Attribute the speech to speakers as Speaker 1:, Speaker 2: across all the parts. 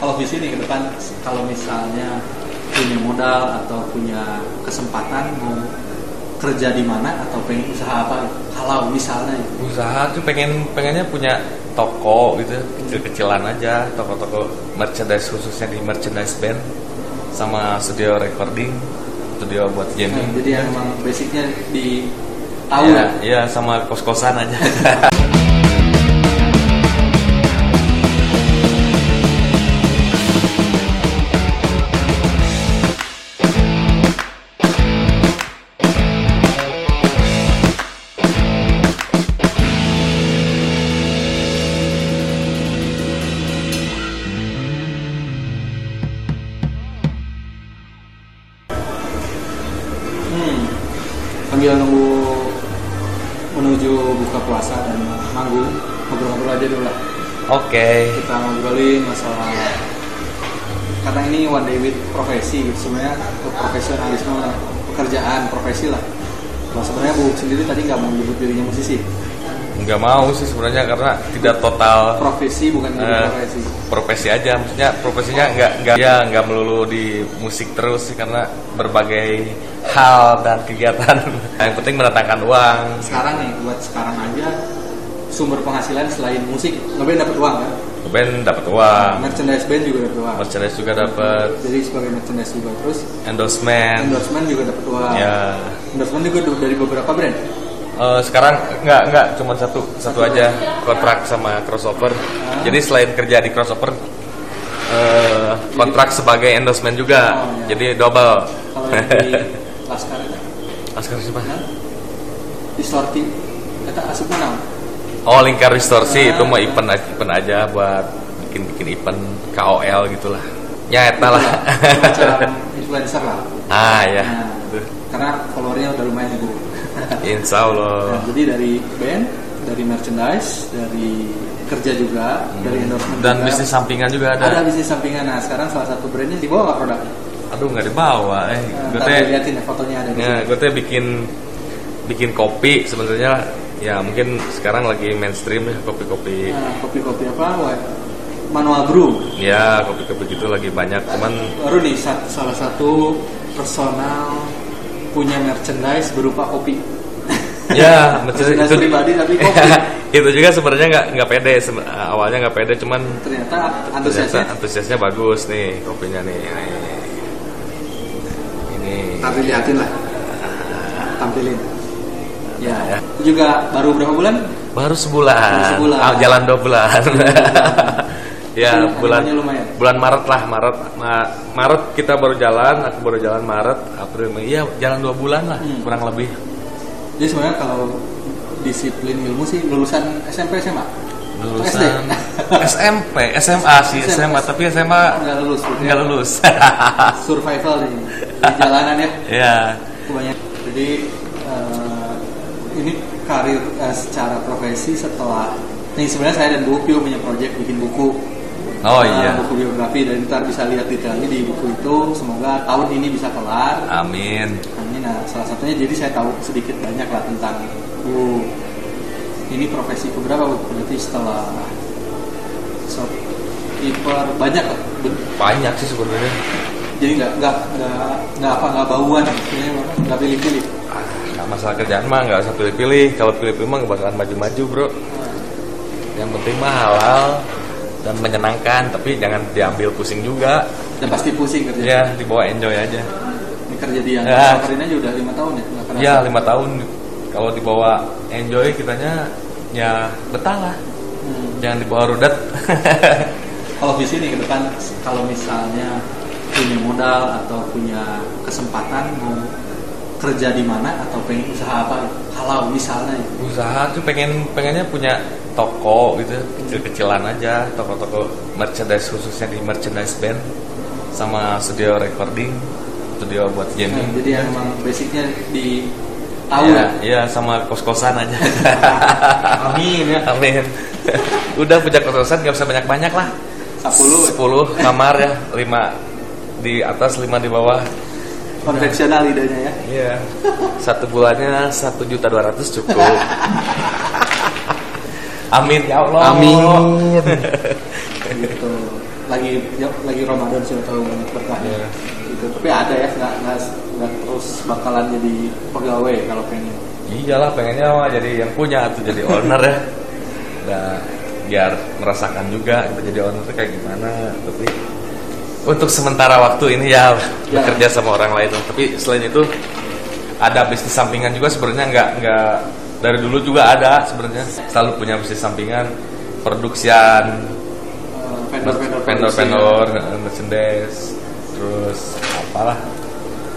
Speaker 1: kalau visi nih ke depan kalau misalnya punya modal atau punya kesempatan mau kerja di mana atau pengen usaha apa kalau misalnya gitu.
Speaker 2: usaha tuh pengen pengennya punya toko gitu kecil-kecilan aja toko-toko merchandise khususnya di merchandise band sama studio recording studio buat
Speaker 1: Nah,
Speaker 2: jamming
Speaker 1: jadi yang emang basicnya di tahu
Speaker 2: Iya,
Speaker 1: ya.
Speaker 2: iya sama kos-kosan aja
Speaker 1: Hmm. Sambil nunggu menuju buka puasa dan manggung ngobrol-ngobrol aja dulu lah.
Speaker 2: oke
Speaker 1: Kita ngobrolin masalah karena ini one day with profesi gitu sebenarnya profesionalisme lah, pekerjaan profesi lah. Kalau sebenarnya Bu sendiri tadi nggak mau menyebut dirinya musisi.
Speaker 2: nggak mau sih sebenarnya karena tidak total
Speaker 1: Profesi bukan menyebut
Speaker 2: eh,
Speaker 1: profesi.
Speaker 2: profesi aja maksudnya profesinya nggak nggak ya nggak melulu di musik terus sih karena berbagai hal dan kegiatan yang penting mendatangkan uang
Speaker 1: Sekarang nih buat sekarang aja sumber penghasilan selain musik ngeband dapat uang kan?
Speaker 2: band dapat uang
Speaker 1: merchandise band juga dapat uang.
Speaker 2: merchandise juga dapat
Speaker 1: Jadi sebagai merchandise juga terus
Speaker 2: endorsement
Speaker 1: endorsement juga dapat uang.
Speaker 2: Ah. ya
Speaker 1: Endorsement juga du- dari beberapa brand.
Speaker 2: Eh, sekarang nggak nggak cuma satu satu aja kontrak sama crossover jadi selain kerja di crossover eh, kontrak sebagai endorsement juga
Speaker 1: Oh, iya.
Speaker 2: jadi double
Speaker 1: Kalau yang di Laskar itu,
Speaker 2: Laskar Wisma.
Speaker 1: kan? di Sorti kata asup mana?
Speaker 2: oh lingkar
Speaker 1: Ah.
Speaker 2: distorsi itu mah event event aja buat bikin bikin event KOL gitulah ya eta lah
Speaker 1: Macam influencer lah.
Speaker 2: ah ya
Speaker 1: Nah,
Speaker 2: Betul.
Speaker 1: karena followernya udah lumayan gue.
Speaker 2: insya Allah
Speaker 1: Nah, jadi dari band, dari merchandise, dari kerja juga, dari endorsement
Speaker 2: Hmm. dan
Speaker 1: juga.
Speaker 2: bisnis sampingan juga ada,
Speaker 1: ada bisnis sampingan. Nah sekarang salah satu brandnya dibawa nggak produknya?
Speaker 2: aduh nggak dibawa eh
Speaker 1: Nah, Eh,
Speaker 2: Gue
Speaker 1: ntar
Speaker 2: teh-
Speaker 1: diliatin ya fotonya ada di
Speaker 2: Ya, gue tuh bikin bikin kopi sebenarnya ya mungkin sekarang lagi mainstream ya kopi-kopi
Speaker 1: Nah, kopi-kopi apa? Wah, Manual brew.
Speaker 2: ya kopi-kopi gitu lagi banyak cuman
Speaker 1: Baru nih sa- salah satu personal punya merchandise berupa kopi.
Speaker 2: ya maksudnya
Speaker 1: Merchandise pribadi tapi kopi.
Speaker 2: itu juga sebenarnya nggak nggak pede seben- awalnya nggak pede cuman
Speaker 1: Ternyata
Speaker 2: ternyata
Speaker 1: antusiasnya.
Speaker 2: antusiasnya bagus nih kopinya nih Nah, ini
Speaker 1: Tapi liatin lah. Tampilin. Ya.
Speaker 2: Ya.
Speaker 1: Itu juga baru berapa bulan?
Speaker 2: baru sebulan,
Speaker 1: Baru sebulan. Iya,
Speaker 2: Ah, jalan dua bulan ya
Speaker 1: Tapi
Speaker 2: bulan
Speaker 1: animenya Iya, lumayan.
Speaker 2: bulan Maret lah Maret Ma- Maret kita baru jalan aku baru jalan Maret April Mei ya jalan dua bulan lah
Speaker 1: Hmm.
Speaker 2: kurang lebih
Speaker 1: Jadi sebenarnya kalau disiplin ilmu sih lulusan SMP SMA. Atau SD?
Speaker 2: lulusan SMP SMA sih
Speaker 1: SMP.
Speaker 2: SMA tapi SMA
Speaker 1: Nggak lulus. gitu ya.
Speaker 2: nggak lulus
Speaker 1: Survival nih di jalanan ya.
Speaker 2: ya
Speaker 1: kebanyakan. Jadi eh, ini karir eh, secara profesi setelah ini sebenarnya saya dan Bu Upio punya project bikin buku.
Speaker 2: oh
Speaker 1: Eh,
Speaker 2: iya
Speaker 1: Buku biografi dan ntar bisa lihat detailnya di buku itu. Semoga tahun ini bisa kelar.
Speaker 2: amin
Speaker 1: Ini nah salah satunya jadi saya tahu sedikit banyak lah tentang Bu. Ini profesi keberapa Bu? Berarti setelah shopkeeper banyak lah. Ben-
Speaker 2: banyak sih sebenarnya
Speaker 1: Jadi nggak nggak nggak nggak apa nggak bauan maksudnya nggak pilih-pilih.
Speaker 2: Ah, nggak masalah kerjaan mah nggak usah pilih-pilih kalau pilih-pilih mah nggak bakalan maju-maju bro yang penting mah halal dan menyenangkan tapi jangan diambil pusing juga
Speaker 1: Dan pasti pusing kerja.
Speaker 2: ya dibawa enjoy aja
Speaker 1: Ini kerja di yang
Speaker 2: Ya.
Speaker 1: coverin aja udah lima tahun ya nggak kerasa.
Speaker 2: ya lima tahun kalau dibawa enjoy kitanya ya betah lah
Speaker 1: Hmm.
Speaker 2: jangan dibawa rudet
Speaker 1: Kalau visi nih ke depan kalau misalnya punya modal atau punya kesempatan mau kerja di mana atau pengen usaha apa gitu. kalau misalnya gitu.
Speaker 2: usaha tuh pengen pengennya punya toko gitu kecil-kecilan aja toko-toko merchandise khususnya di merchandise band sama studio recording studio buat
Speaker 1: Nah,
Speaker 2: jamming
Speaker 1: jadi yang emang basicnya di tahu
Speaker 2: ya,
Speaker 1: ya.
Speaker 2: ya sama kos-kosan aja
Speaker 1: Amin ya.
Speaker 2: amin udah punya kos-kosan gak usah banyak-banyak lah
Speaker 1: 10
Speaker 2: 10 kamar ya 5 di atas 5 di bawah
Speaker 1: konvensional lidahnya ya.
Speaker 2: Iya. Satu bulannya satu juta dua ratus cukup. Amin ya Allah.
Speaker 3: Amin.
Speaker 1: Gitu. lagi ya, lagi Ramadan sih atau banyak berkahnya
Speaker 2: Iya.
Speaker 1: gitu. tapi ada ya nggak nggak nggak terus bakalan jadi pegawai kalau pengen
Speaker 2: iyalah pengennya mah jadi yang punya atau jadi owner ya nah, biar merasakan juga kita jadi owner tuh kayak gimana tapi untuk sementara waktu ini ya,
Speaker 1: Ya.
Speaker 2: bekerja sama orang lain lah. tapi selain itu ada bisnis sampingan juga sebenarnya nggak nggak dari dulu juga ada sebenarnya selalu punya bisnis sampingan produksian
Speaker 1: eh, vendor-vendor
Speaker 2: vendor
Speaker 1: produksi.
Speaker 2: vendor merchandise terus apalah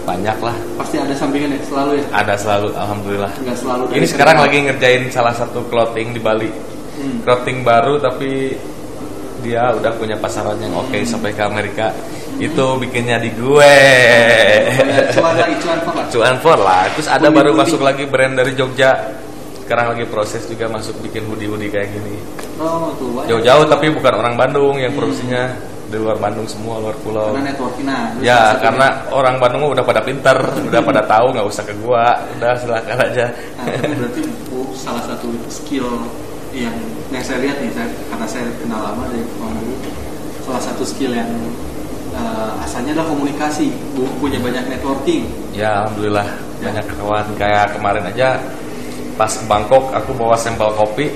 Speaker 2: banyak lah
Speaker 1: pasti ada sampingan ya selalu ya
Speaker 2: ada selalu alhamdulillah
Speaker 1: nggak selalu dari
Speaker 2: ini sekarang
Speaker 1: kerja.
Speaker 2: lagi ngerjain salah satu clothing di Bali.
Speaker 1: Hmm.
Speaker 2: Clothing baru tapi dia udah punya pasaran yang oke sampai ke Amerika. Itu bikinnya di gue.
Speaker 1: Banyak cuan lagi cuan apa Pak?
Speaker 2: Cuan for lah. Terus ada
Speaker 1: Hoodie,
Speaker 2: baru
Speaker 1: hoodie.
Speaker 2: masuk lagi brand dari Jogja. Sekarang lagi proses juga masuk bikin hoodie-hoodie kayak gini.
Speaker 1: oh tuh banyak.
Speaker 2: Jauh-jauh tapi bukan orang Bandung yang produksinya di luar Bandung semua, luar pulau.
Speaker 1: karena networking nah itu salah
Speaker 2: Ya,
Speaker 1: satunya.
Speaker 2: karena orang Bandung udah pada pinter, udah pada tahu nggak usah ke gua, udah silakan
Speaker 1: Nah,
Speaker 2: aja.
Speaker 1: itu berarti bu, salah satu skill yang yang saya lihat nih saya, karena saya kenal lama dari Bang Bu, salah satu skill yang eh, asalnya adalah komunikasi bu punya banyak networking
Speaker 2: Ya alhamdulillah banyak kawan kayak kemarin aja pas ke Bangkok aku bawa sampel kopi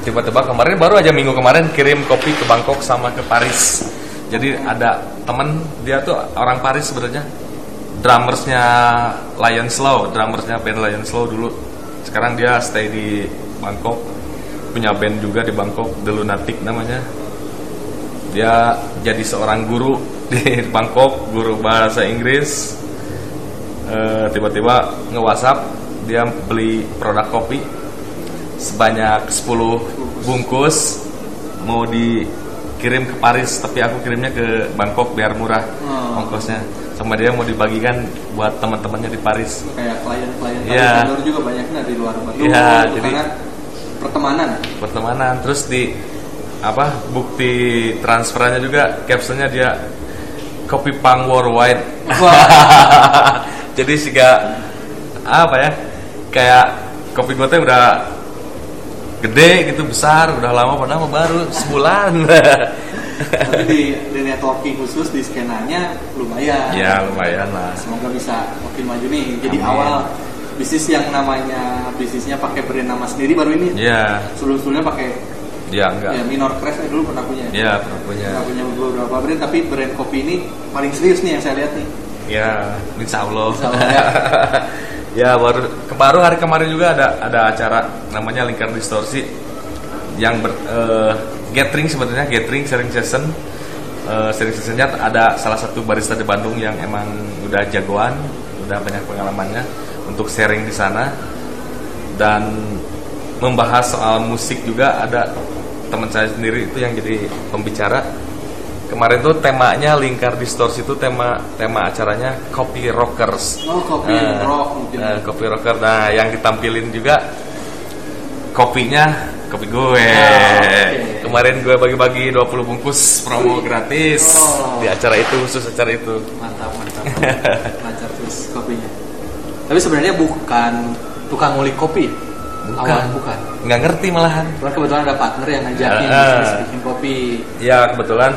Speaker 2: tiba-tiba kemarin baru aja minggu kemarin kirim kopi ke Bangkok sama ke Paris jadi ada temen dia tuh orang Paris sebenarnya drummersnya Lion Slow drummersnya band Lion Slow dulu sekarang dia stay di Bangkok punya band juga di Bangkok The Lunatic namanya dia jadi seorang guru di Bangkok guru bahasa Inggris Eh, tiba-tiba nge-WhatsApp dia beli produk kopi sebanyak 10 bungkus mau dikirim ke Paris tapi aku kirimnya ke Bangkok biar murah
Speaker 1: Oh.
Speaker 2: ongkosnya sama dia mau dibagikan buat teman-temannya di Paris
Speaker 1: kayak klien-klien
Speaker 2: Iya.
Speaker 1: vendor juga banyak nah di luar Bandung
Speaker 2: Iya,
Speaker 1: gitu,
Speaker 2: jadi-
Speaker 1: karena pertemanan
Speaker 2: pertemanan terus di apa bukti transferannya juga captionnya dia kopi pang worldwide jadi sih gak apa ya kayak kopi gue teh udah gede gitu besar udah lama padahal mah baru sebulan
Speaker 1: tapi di, di networking khusus di skenanya lumayan
Speaker 2: ya lumayan lah
Speaker 1: semoga bisa makin maju nih jadi
Speaker 2: Amin.
Speaker 1: awal bisnis yang namanya bisnisnya pakai brand nama sendiri baru ini
Speaker 2: ya
Speaker 1: sebelum-sebelumnya pakai
Speaker 2: ya enggak
Speaker 1: ya minor crash eh, dulu pernah punya
Speaker 2: ya pernah punya
Speaker 1: pernah punya beberapa brand tapi brand kopi ini paling serius nih yang saya lihat nih
Speaker 2: Ya, insya Allah.
Speaker 1: Insya Allah, ya.
Speaker 2: ya baru baru hari kemarin juga ada ada acara namanya Lingkar Distorsi yang ber, eh, gathering sebenarnya gathering sharing session Eh, sharing sessionnya ada salah satu barista di Bandung yang emang udah jagoan, udah banyak pengalamannya untuk sharing di sana dan membahas soal musik juga ada teman saya sendiri itu yang jadi pembicara kemarin tuh temanya lingkar distorsi itu tema tema acaranya copy rockers
Speaker 1: oh kopi
Speaker 2: Eh,
Speaker 1: rock mungkin
Speaker 2: eh, copy rocker nah yang ditampilin juga kopinya kopi gue
Speaker 1: Ah, oke.
Speaker 2: kemarin gue bagi-bagi 20 bungkus promo gratis
Speaker 1: Oh.
Speaker 2: di acara itu khusus acara itu
Speaker 1: mantap mantap lancar terus kopinya tapi sebenarnya bukan tukang ngulik kopi
Speaker 2: Bukan.
Speaker 1: awal bukan
Speaker 2: nggak ngerti malahan
Speaker 1: Cuman kebetulan ada partner yang ngajakin
Speaker 2: Ah.
Speaker 1: bisnis bikin kopi
Speaker 2: Ya kebetulan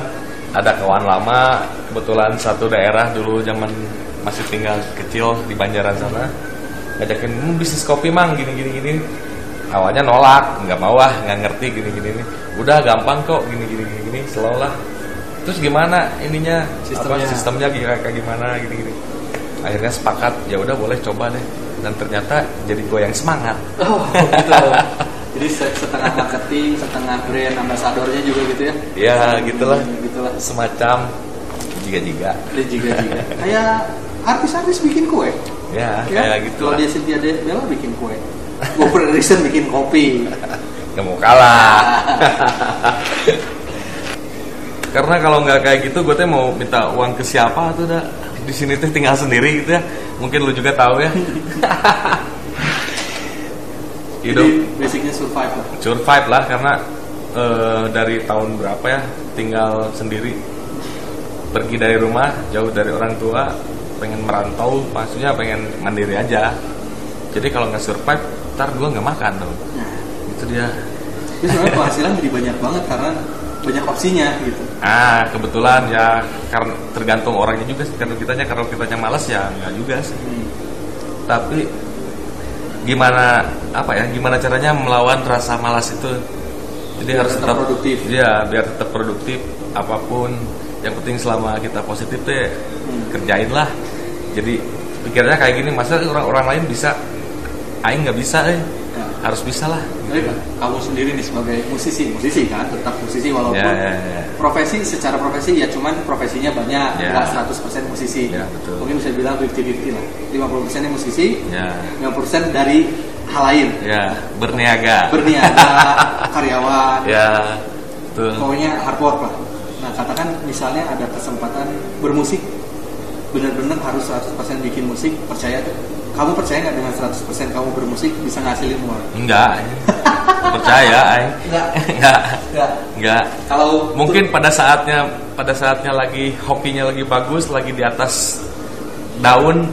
Speaker 2: ada kawan lama, kebetulan satu daerah dulu zaman masih tinggal kecil di Banjaran sana ngajakin "Hmm, bisnis kopi mang gini gini gini awalnya nolak nggak mau ah nggak ngerti gini gini ini udah gampang kok gini gini gini gini slow lah terus gimana ininya
Speaker 1: Sistemnya.
Speaker 2: apa, sistemnya kayak kayak gimana gini gini akhirnya sepakat ya udah boleh coba deh dan ternyata jadi gue yang semangat
Speaker 1: oh gitu jadi se- setengah marketing setengah brand ambasadornya juga gitu ya
Speaker 2: ya gitulah
Speaker 1: gitulah
Speaker 2: semacam jika jika
Speaker 1: dan juga juga kayak artis-artis bikin kue
Speaker 2: ya,
Speaker 1: ya,
Speaker 2: kayak gitu
Speaker 1: kalau dia Cynthia De- Bella bikin kue Bobber Reason bikin kopi
Speaker 2: nggak mau kalah karena kalau nggak kayak gitu gue teh mau minta uang ke siapa tuh dah di sini teh tinggal sendiri gitu ya mungkin lu juga tahu ya
Speaker 1: jadi
Speaker 2: hidup
Speaker 1: basicnya survive lah
Speaker 2: survive lah karena eh, dari tahun berapa ya tinggal sendiri pergi dari rumah jauh dari orang tua pengen merantau maksudnya pengen mandiri aja jadi kalau nggak survive ntar gue nggak makan dong
Speaker 1: nah,
Speaker 2: itu dia
Speaker 1: Jadi sebenarnya penghasilan jadi banyak banget karena banyak opsinya gitu
Speaker 2: Ah, kebetulan ya karena tergantung orangnya juga sih. Karena kitanya kalau kitanya malas ya nggak juga sih.
Speaker 1: Hmm.
Speaker 2: Tapi gimana apa ya? Gimana caranya melawan rasa malas itu? Jadi
Speaker 1: Biar
Speaker 2: harus
Speaker 1: tetap
Speaker 2: tetap
Speaker 1: produktif.
Speaker 2: Ya, biar tetap produktif apapun. Yang penting selama kita positif deh
Speaker 1: Hmm.
Speaker 2: kerjain lah. Jadi pikirannya kayak gini, masa orang-orang lain bisa aing nggak bisa eh.
Speaker 1: Ya.
Speaker 2: Harus bisa lah.
Speaker 1: Tapi kamu sendiri nih sebagai musisi, musisi kan tetap musisi walaupun
Speaker 2: Ya, ya, ya.
Speaker 1: profesi secara profesi ya cuman profesinya banyak
Speaker 2: Ya.
Speaker 1: nggak 100% musisi.
Speaker 2: Ya, betul.
Speaker 1: Mungkin bisa bilang 50-50 lah. 50% nya musisi,
Speaker 2: Ya.
Speaker 1: 50% dari hal lain.
Speaker 2: Ya, berniaga.
Speaker 1: Berniaga, karyawan,
Speaker 2: ya. Betul.
Speaker 1: pokoknya hard work lah. Nah, katakan misalnya ada kesempatan bermusik benar-benar harus 100% bikin musik, percaya tuh. Kamu percaya nggak dengan 100% kamu bermusik bisa ngasilin uang?
Speaker 2: Enggak. Percaya, Aing.
Speaker 1: Enggak.
Speaker 2: Enggak.
Speaker 1: Enggak.
Speaker 2: Enggak.
Speaker 1: Kalau
Speaker 2: Mungkin pada saatnya pada saatnya lagi hokinya lagi bagus, lagi di atas daun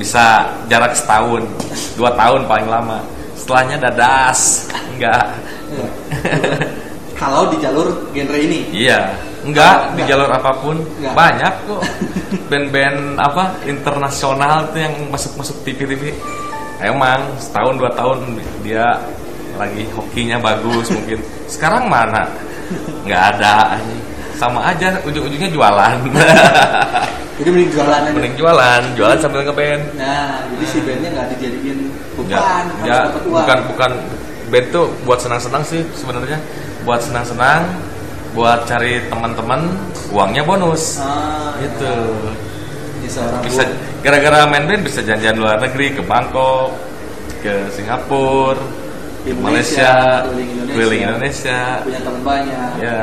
Speaker 2: bisa jarak setahun, dua tahun paling lama. Setelahnya dadas, enggak,
Speaker 1: Iya. Kalau di jalur genre ini,
Speaker 2: iya, enggak di jalur apapun
Speaker 1: Enggak.
Speaker 2: banyak kok band-band apa internasional tuh yang masuk-masuk TV-TV. Emang setahun dua tahun dia lagi hokinya bagus mungkin. Sekarang mana? Enggak ada, sama aja ujung-ujungnya jualan.
Speaker 1: jadi mending jualan aja.
Speaker 2: mending jualan jualan sambil ngeband
Speaker 1: Nah, jadi si bandnya nggak dijadiin beban,
Speaker 2: Nggak-
Speaker 1: harus
Speaker 2: nggak,
Speaker 1: dapat uang.
Speaker 2: bukan bukan band tuh buat senang-senang sih sebenarnya buat senang-senang buat cari teman-teman uangnya bonus
Speaker 1: Ah,
Speaker 2: gitu
Speaker 1: ya seorang
Speaker 2: bisa
Speaker 1: bu-
Speaker 2: gara-gara main band bisa janjian luar negeri ke Bangkok ke Singapura ke
Speaker 1: Indonesia,
Speaker 2: Malaysia
Speaker 1: keliling Indonesia.
Speaker 2: keliling Indonesia
Speaker 1: punya teman banyak.
Speaker 2: ya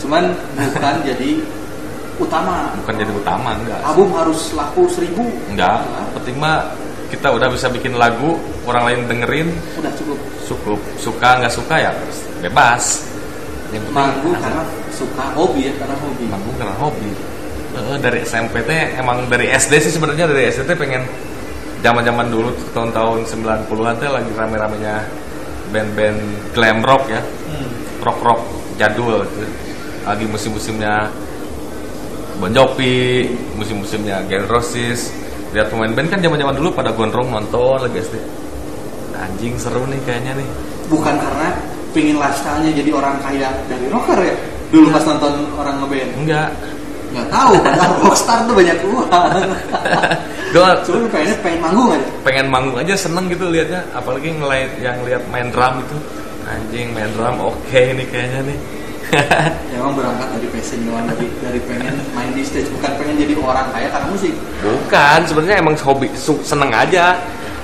Speaker 1: Cuman bukan jadi utama.
Speaker 2: bukan jadi utama enggak
Speaker 1: Album harus laku seribu.
Speaker 2: enggak penting mah kita udah bisa bikin lagu orang lain dengerin
Speaker 1: Udah cukup.
Speaker 2: cukup suka nggak suka ya bebas yang penting
Speaker 1: Manggung karena suka hobi ya, karena hobi.
Speaker 2: manggung karena hobi Eh, dari SMP teh emang dari SD sih sebenarnya dari SD teh pengen zaman zaman dulu tuh, tahun-tahun 90-an teh lagi rame-ramenya band-band glam rock ya rock rock jadul gitu. lagi musim-musimnya Bon Jovi musim-musimnya Gen Roses lihat pemain band kan zaman zaman dulu pada gondrong nonton lagi SD anjing seru nih kayaknya nih
Speaker 1: Bukan karena pingin lifestyle-nya jadi orang kaya dari rocker ya. Dulu pas
Speaker 2: Hmm.
Speaker 1: nonton orang ngeband.
Speaker 2: enggak
Speaker 1: nggak tahu padahal rockstar tuh banyak uang
Speaker 2: Gua
Speaker 1: cuma lu pengennya pengen manggung aja
Speaker 2: pengen manggung aja seneng gitu liatnya apalagi ngeliat yang lihat main drum itu anjing main drum oke ini kayaknya nih
Speaker 1: ya, emang berangkat dari passion doang dari dari pengen main di stage bukan pengen jadi orang kaya karena musik
Speaker 2: bukan sebenarnya emang hobi su- seneng aja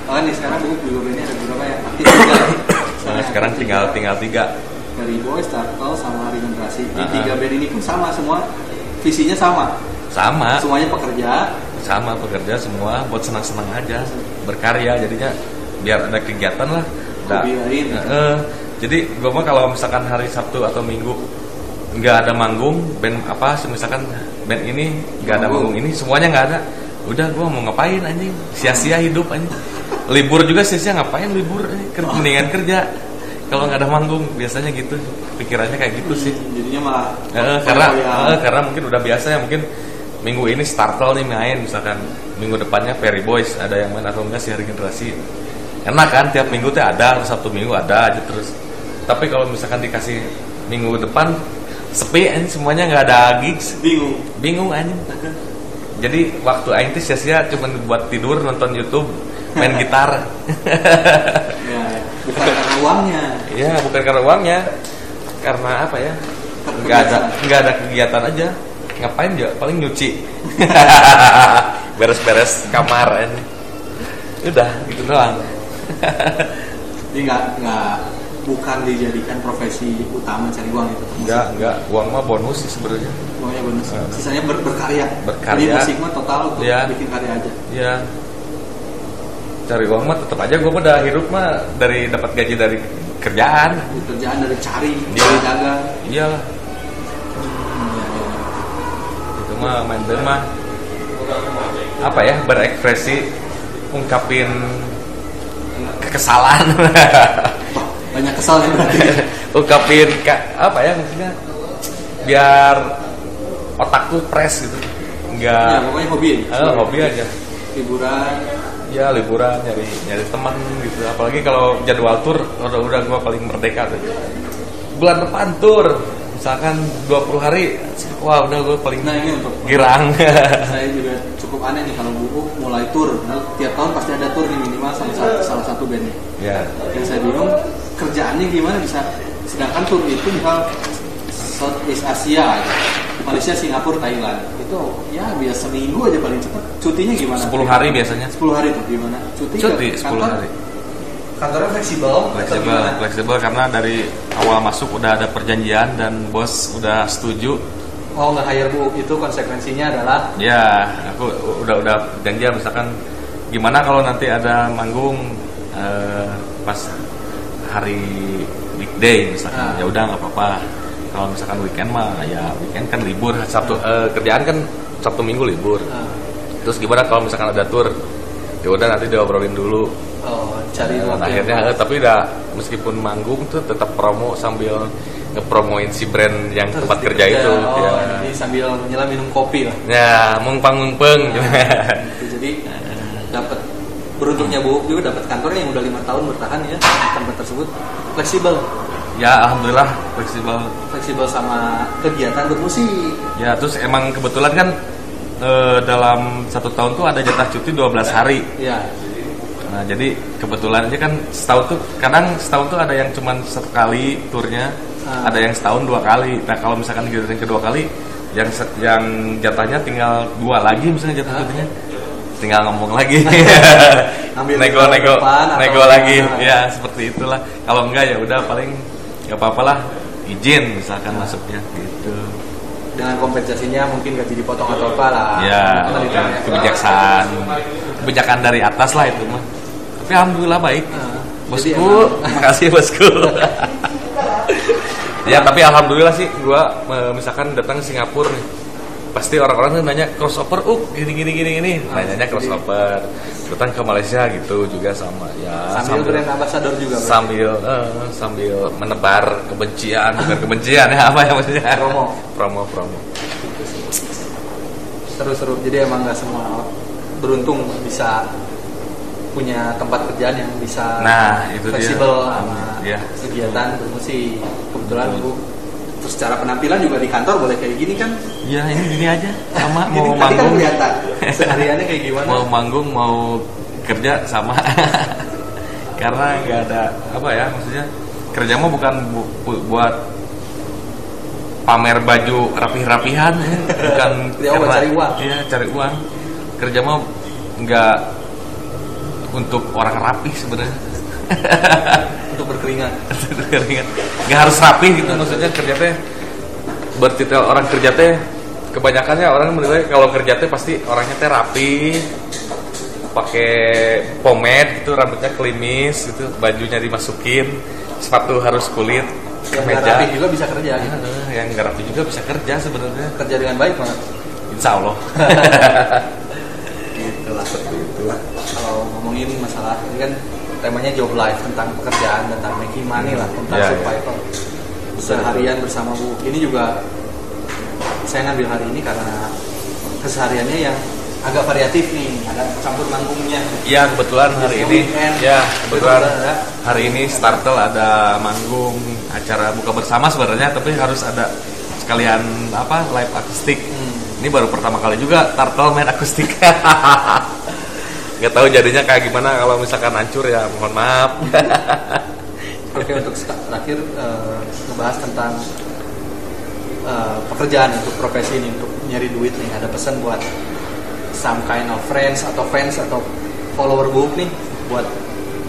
Speaker 1: oh nih sekarang gue juga bandnya ada beberapa yang aktif juga
Speaker 2: nah,
Speaker 1: Misalnya
Speaker 2: sekarang
Speaker 1: aktif
Speaker 2: tinggal
Speaker 1: juga
Speaker 2: tinggal tiga
Speaker 1: dari boy startle sama regenerasi di
Speaker 2: Ah.
Speaker 1: tiga band ini pun sama semua visinya sama
Speaker 2: sama
Speaker 1: semuanya pekerja
Speaker 2: sama pekerja semua buat senang senang aja berkarya jadinya biar ada kegiatan lah Nah,
Speaker 1: Hobi lain.
Speaker 2: eh, jadi gue mah kalau misalkan hari Sabtu atau Minggu nggak ada manggung band apa misalkan band ini nggak ada
Speaker 1: Manggung.
Speaker 2: manggung ini semuanya nggak ada udah gue mau ngapain anjing sia-sia hidup anjing libur juga sia-sia ngapain libur anjing.
Speaker 1: Oh.
Speaker 2: Ker- mendingan kerja kalau nggak ada manggung biasanya gitu pikirannya kayak gitu sih
Speaker 1: Hmm, jadinya malah
Speaker 2: Eh, karena
Speaker 1: koyak-koyak.
Speaker 2: eh, karena mungkin udah biasa ya mungkin minggu ini startle nih main misalkan minggu depannya Perry Boys ada yang main atau enggak sih hari generasi enak kan tiap minggu teh ada Sabtu minggu ada aja terus tapi kalau misalkan dikasih minggu depan sepi anjing semuanya nggak ada gigs
Speaker 1: bingung
Speaker 2: bingung anjing jadi waktu aing tuh sia-sia cuma buat tidur nonton YouTube main gitar
Speaker 1: ya bukan karena uangnya
Speaker 2: Iya, bukan karena uangnya, karena apa ya? Nggak ada, nggak ada kegiatan aja. Ngapain ya? Paling nyuci, beres-beres kamar. ini. Udah gitu doang.
Speaker 1: jadi nggak nggak bukan dijadikan profesi utama cari uang ya. itu
Speaker 2: Nggak, nggak. Uang mah bonus sih sebenarnya.
Speaker 1: Pokoknya bener. Sisanya ber- berkarya. Jadi
Speaker 2: Berkarya.
Speaker 1: musik mah total untuk
Speaker 2: Iya.
Speaker 1: bikin karya aja.
Speaker 2: Iya. Cari uang mah tetap aja gue udah hidup mah dari dapat gaji dari kerjaan.
Speaker 1: Dari kerjaan dari cari,
Speaker 2: Iya.
Speaker 1: dari dagang.
Speaker 2: Iyalah, itu mah main band mah apa ya berekspresi ungkapin kekesalan
Speaker 1: Wah, banyak kesal ya berarti.
Speaker 2: ungkapin ka- apa ya maksudnya biar otak tuh fresh gitu
Speaker 1: ya
Speaker 2: nggak
Speaker 1: pokoknya hobi
Speaker 2: eh, hobi aja
Speaker 1: hiburan
Speaker 2: ya liburan nyari nyari teman gitu apalagi kalau jadwal tur udah udah gua paling merdeka tuh bulan depan tur misalkan 20 hari wah udah gua paling
Speaker 1: nah ini untuk
Speaker 2: girang
Speaker 1: saya juga cukup aneh nih kalau buku mulai tur Nah, tiap tahun pasti ada tur nih minimal sama sa- salah satu bandnya
Speaker 2: ya
Speaker 1: yang saya bingung kerjaannya gimana bisa sedangkan tur itu misal Southeast Asia gitu. Malaysia Singapura Thailand itu ya biasa seminggu aja paling cepat cutinya gimana
Speaker 2: 10 hari biasanya
Speaker 1: 10 hari tuh gimana cuti nggak?
Speaker 2: cuti 10
Speaker 1: Iya, Kantor?
Speaker 2: hari
Speaker 1: kantornya fleksibel atau
Speaker 2: fleksibel
Speaker 1: gimana?
Speaker 2: fleksibel karena dari awal masuk udah ada perjanjian dan bos udah setuju
Speaker 1: mau nge hire bu itu konsekuensinya adalah
Speaker 2: ya aku udah udah janji misalkan gimana kalau nanti ada manggung eh, pas hari weekday misalkan
Speaker 1: Ah.
Speaker 2: ya udah nggak apa-apa kalau misalkan weekend mah ya weekend kan libur sabtu eh, kerjaan kan sabtu minggu libur
Speaker 1: eh,
Speaker 2: terus gimana kalau misalkan ada tour ya udah nanti diobrolin dulu
Speaker 1: oh, cari
Speaker 2: Dan
Speaker 1: waktu yang
Speaker 2: akhirnya
Speaker 1: pas.
Speaker 2: eh, tapi udah meskipun manggung tuh tetap promo sambil ngepromoin si brand yang
Speaker 1: Terus
Speaker 2: tempat kerja
Speaker 1: dikerja,
Speaker 2: itu
Speaker 1: oh,
Speaker 2: ya.
Speaker 1: jadi sambil nyela minum kopi lah
Speaker 2: ya mengpang-mengpeng
Speaker 1: Gitu, jadi dapat beruntungnya bu juga dapat kantornya yang udah lima tahun bertahan ya tempat tersebut fleksibel
Speaker 2: Ya alhamdulillah fleksibel.
Speaker 1: fleksibel sama kegiatan bermusik
Speaker 2: Ya terus emang kebetulan kan eh, dalam satu tahun tuh ada jatah cuti 12 hari.
Speaker 1: ya
Speaker 2: Nah, jadi kebetulan aja kan setahun tuh kadang setahun tuh ada yang cuman satu kali turnya,
Speaker 1: Ah.
Speaker 2: ada yang setahun dua kali. Nah kalau misalkan gitu yang kedua kali, yang se- yang jatahnya tinggal dua lagi misalnya
Speaker 1: Ah.
Speaker 2: jatah cutinya, tinggal ngomong lagi,
Speaker 1: Ambil
Speaker 2: nego-nego,
Speaker 1: ke depan atau
Speaker 2: nego lagi,
Speaker 1: gimana?
Speaker 2: ya seperti itulah. Kalau enggak ya udah paling nggak apa-apalah izin misalkan
Speaker 1: Ah.
Speaker 2: masuknya gitu.
Speaker 1: dengan kompensasinya mungkin gaji dipotong atau apa lah
Speaker 2: Ya,
Speaker 1: Atau ditanya.
Speaker 2: kebijaksanaan, kebijakan dari atas lah itu mah. Tapi alhamdulillah baik.
Speaker 1: Nah, jadi
Speaker 2: Bosku,
Speaker 1: emang-
Speaker 2: makasih bosku. ya tapi alhamdulillah sih gua e, misalkan datang ke Singapura nih. Pasti orang-orang tuh nanya crossover, uh gini gini gini gini.
Speaker 1: Ah,
Speaker 2: Nanyanya
Speaker 1: jadi-
Speaker 2: crossover. Datang ke Malaysia gitu juga sama ya.
Speaker 1: sambil brand ambassador juga berarti.
Speaker 2: sambil eh, sambil menebar kebencian, bukan kebencian ya apa ya maksudnya?
Speaker 1: Promo.
Speaker 2: promo, promo.
Speaker 1: seru-seru jadi emang nggak semua beruntung bisa punya tempat kerjaan yang bisa
Speaker 2: Nah, itu dia.
Speaker 1: fleksibel sama
Speaker 2: Iya.
Speaker 1: kegiatan bermusik kebetulan
Speaker 2: Betul.
Speaker 1: bu terus secara penampilan juga di kantor boleh kayak gini kan
Speaker 2: Ya ini gini aja sama
Speaker 1: Jadi tadi
Speaker 2: mau
Speaker 1: kan
Speaker 2: manggung
Speaker 1: kelihatan sehariannya kayak gimana
Speaker 2: mau manggung mau kerja sama karena nggak ada apa ya maksudnya kerja mah bukan bu- bu- buat pamer baju rapih-rapihan ya. bukan
Speaker 1: Ya, buat cari uang.
Speaker 2: iya cari uang kerja mah nggak untuk orang rapih sebenarnya
Speaker 1: untuk berkeringat
Speaker 2: Keringat. nggak harus rapi gitu maksudnya kerja teh bertitel orang kerja teh kebanyakannya orang menilai kalau kerja teh pasti orangnya teh rapi pakai pomade gitu rambutnya kelimis gitu bajunya dimasukin sepatu harus kulit
Speaker 1: yang nggak rapi
Speaker 2: kemeja
Speaker 1: juga bisa kerja Iya.
Speaker 2: Ya, yang nggak rapi juga bisa kerja sebenarnya
Speaker 1: kerja dengan baik banget
Speaker 2: insya Allah
Speaker 1: gitu lah kalau ngomongin masalah ini kan temanya job life tentang pekerjaan tentang making money lah tentang
Speaker 2: Ya, ya.
Speaker 1: survival seharian bersama Bu ini juga saya ngambil hari ini karena kesehariannya yang agak variatif nih ada campur manggungnya
Speaker 2: Ya kebetulan hari ini ya kebetulan hari ini Startel ada manggung acara buka bersama sebenarnya tapi harus ada sekalian apa live akustik.
Speaker 1: Hmm.
Speaker 2: Ini baru pertama kali juga Startel main akustik. Gak tahu jadinya kayak gimana kalau misalkan hancur ya mohon maaf.
Speaker 1: oke untuk seka- terakhir eh, ngebahas tentang eh, pekerjaan untuk profesi ini untuk nyari duit nih ada pesan buat some kind of friends atau fans atau follower book nih buat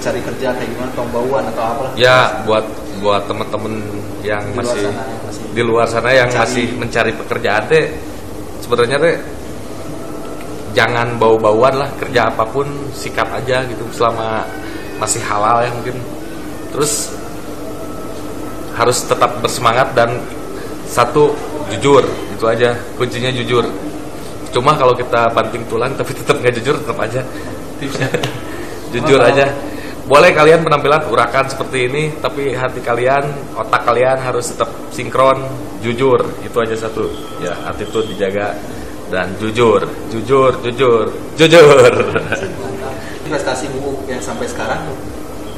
Speaker 1: cari kerja kayak gimana tombauan atau apalah
Speaker 2: ya buat buat temen-temen yang
Speaker 1: Di luar
Speaker 2: masih
Speaker 1: sana yang masih
Speaker 2: di luar sana yang
Speaker 1: mencari.
Speaker 2: masih mencari pekerjaan teh sebenarnya teh jangan bau-bauan lah kerja apapun sikat aja gitu selama masih halal ya mungkin terus harus tetap bersemangat dan satu jujur itu aja kuncinya jujur cuma kalau kita banting tulang tapi tetap nggak jujur tetap aja jujur aja boleh kalian penampilan urakan seperti ini tapi hati kalian otak kalian harus tetap sinkron jujur itu aja satu ya attitude dijaga dan jujur jujur jujur jujur
Speaker 1: Investasi buku yang sampai sekarang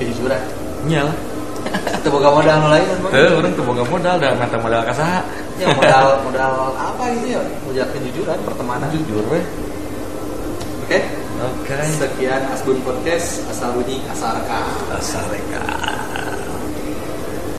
Speaker 1: kejujuran.
Speaker 2: nyala
Speaker 1: Itu bukan modal lain Bang.
Speaker 2: eh orang tuh boga modal dan mata modal kasaha
Speaker 1: Ya modal modal apa gitu ya? Modal kejujuran, pertemanan.
Speaker 2: jujur weh
Speaker 1: Oke.
Speaker 2: oke
Speaker 1: Sekian Asbun Podcast asal bunyi asal rekam.
Speaker 2: Assalamualaikum